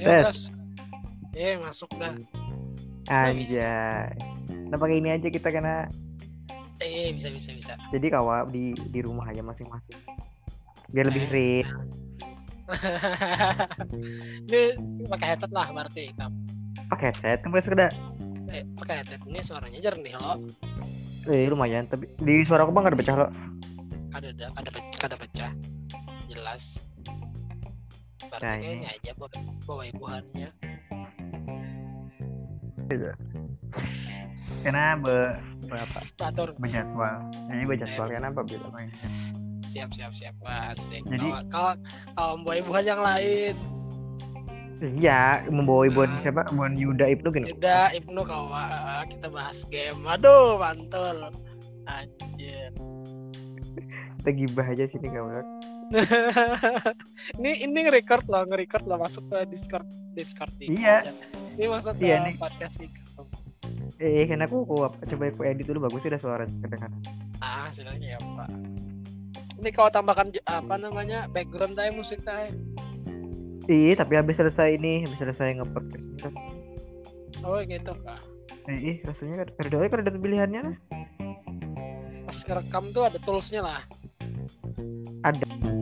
Tes. Iya Ya masuk dah. Anjay. Nah pakai ini aja kita kena. Eh bisa bisa bisa. Jadi kawa di di rumah aja masing-masing. Biar lebih free. Ini pakai headset lah berarti. Tam. Pakai headset kan pakai sekedar. Eh, pakai headset ini suaranya jernih loh. Eh lumayan. Tapi di suara aku bang ada pecah lo. Kada ada kada pecah, kada pecah. Jelas. Berarti Nah, kayak ini. ini aja bawa bawa ibuannya. Karena be berapa? Batur Berjadwal. Ini berjadwal karena apa beda main. siap siap siap Wah, asik. Jadi- Kalau kalau kalau bawa ibuan yang lain. Iya, membawa ibuan siapa? Ibuan Yuda Ibnu gini. Yuda Ibnu Kawa kita bahas game. Aduh, mantul. Anjir. Kita gibah aja sini kawan. ini ini nge-record loh, nge-record loh masuk ke Discord Discord di- Iya. Ini masuk ke Iya, nih. podcast nih. Eh, karena aku, aku apa- coba aku edit dulu bagus sih dah suara kan. kedengaran. Ah, hasilnya ya, Pak. Ini kau tambahkan ju- apa namanya? background tadi musik tadi. Ih, tapi habis selesai ini, habis selesai nge-podcast ini kan. Oh, gitu Kak. Eh, ih, rasanya kan ada kan ada pilihannya lah. Pas ngerekam tuh ada toolsnya lah. Ada.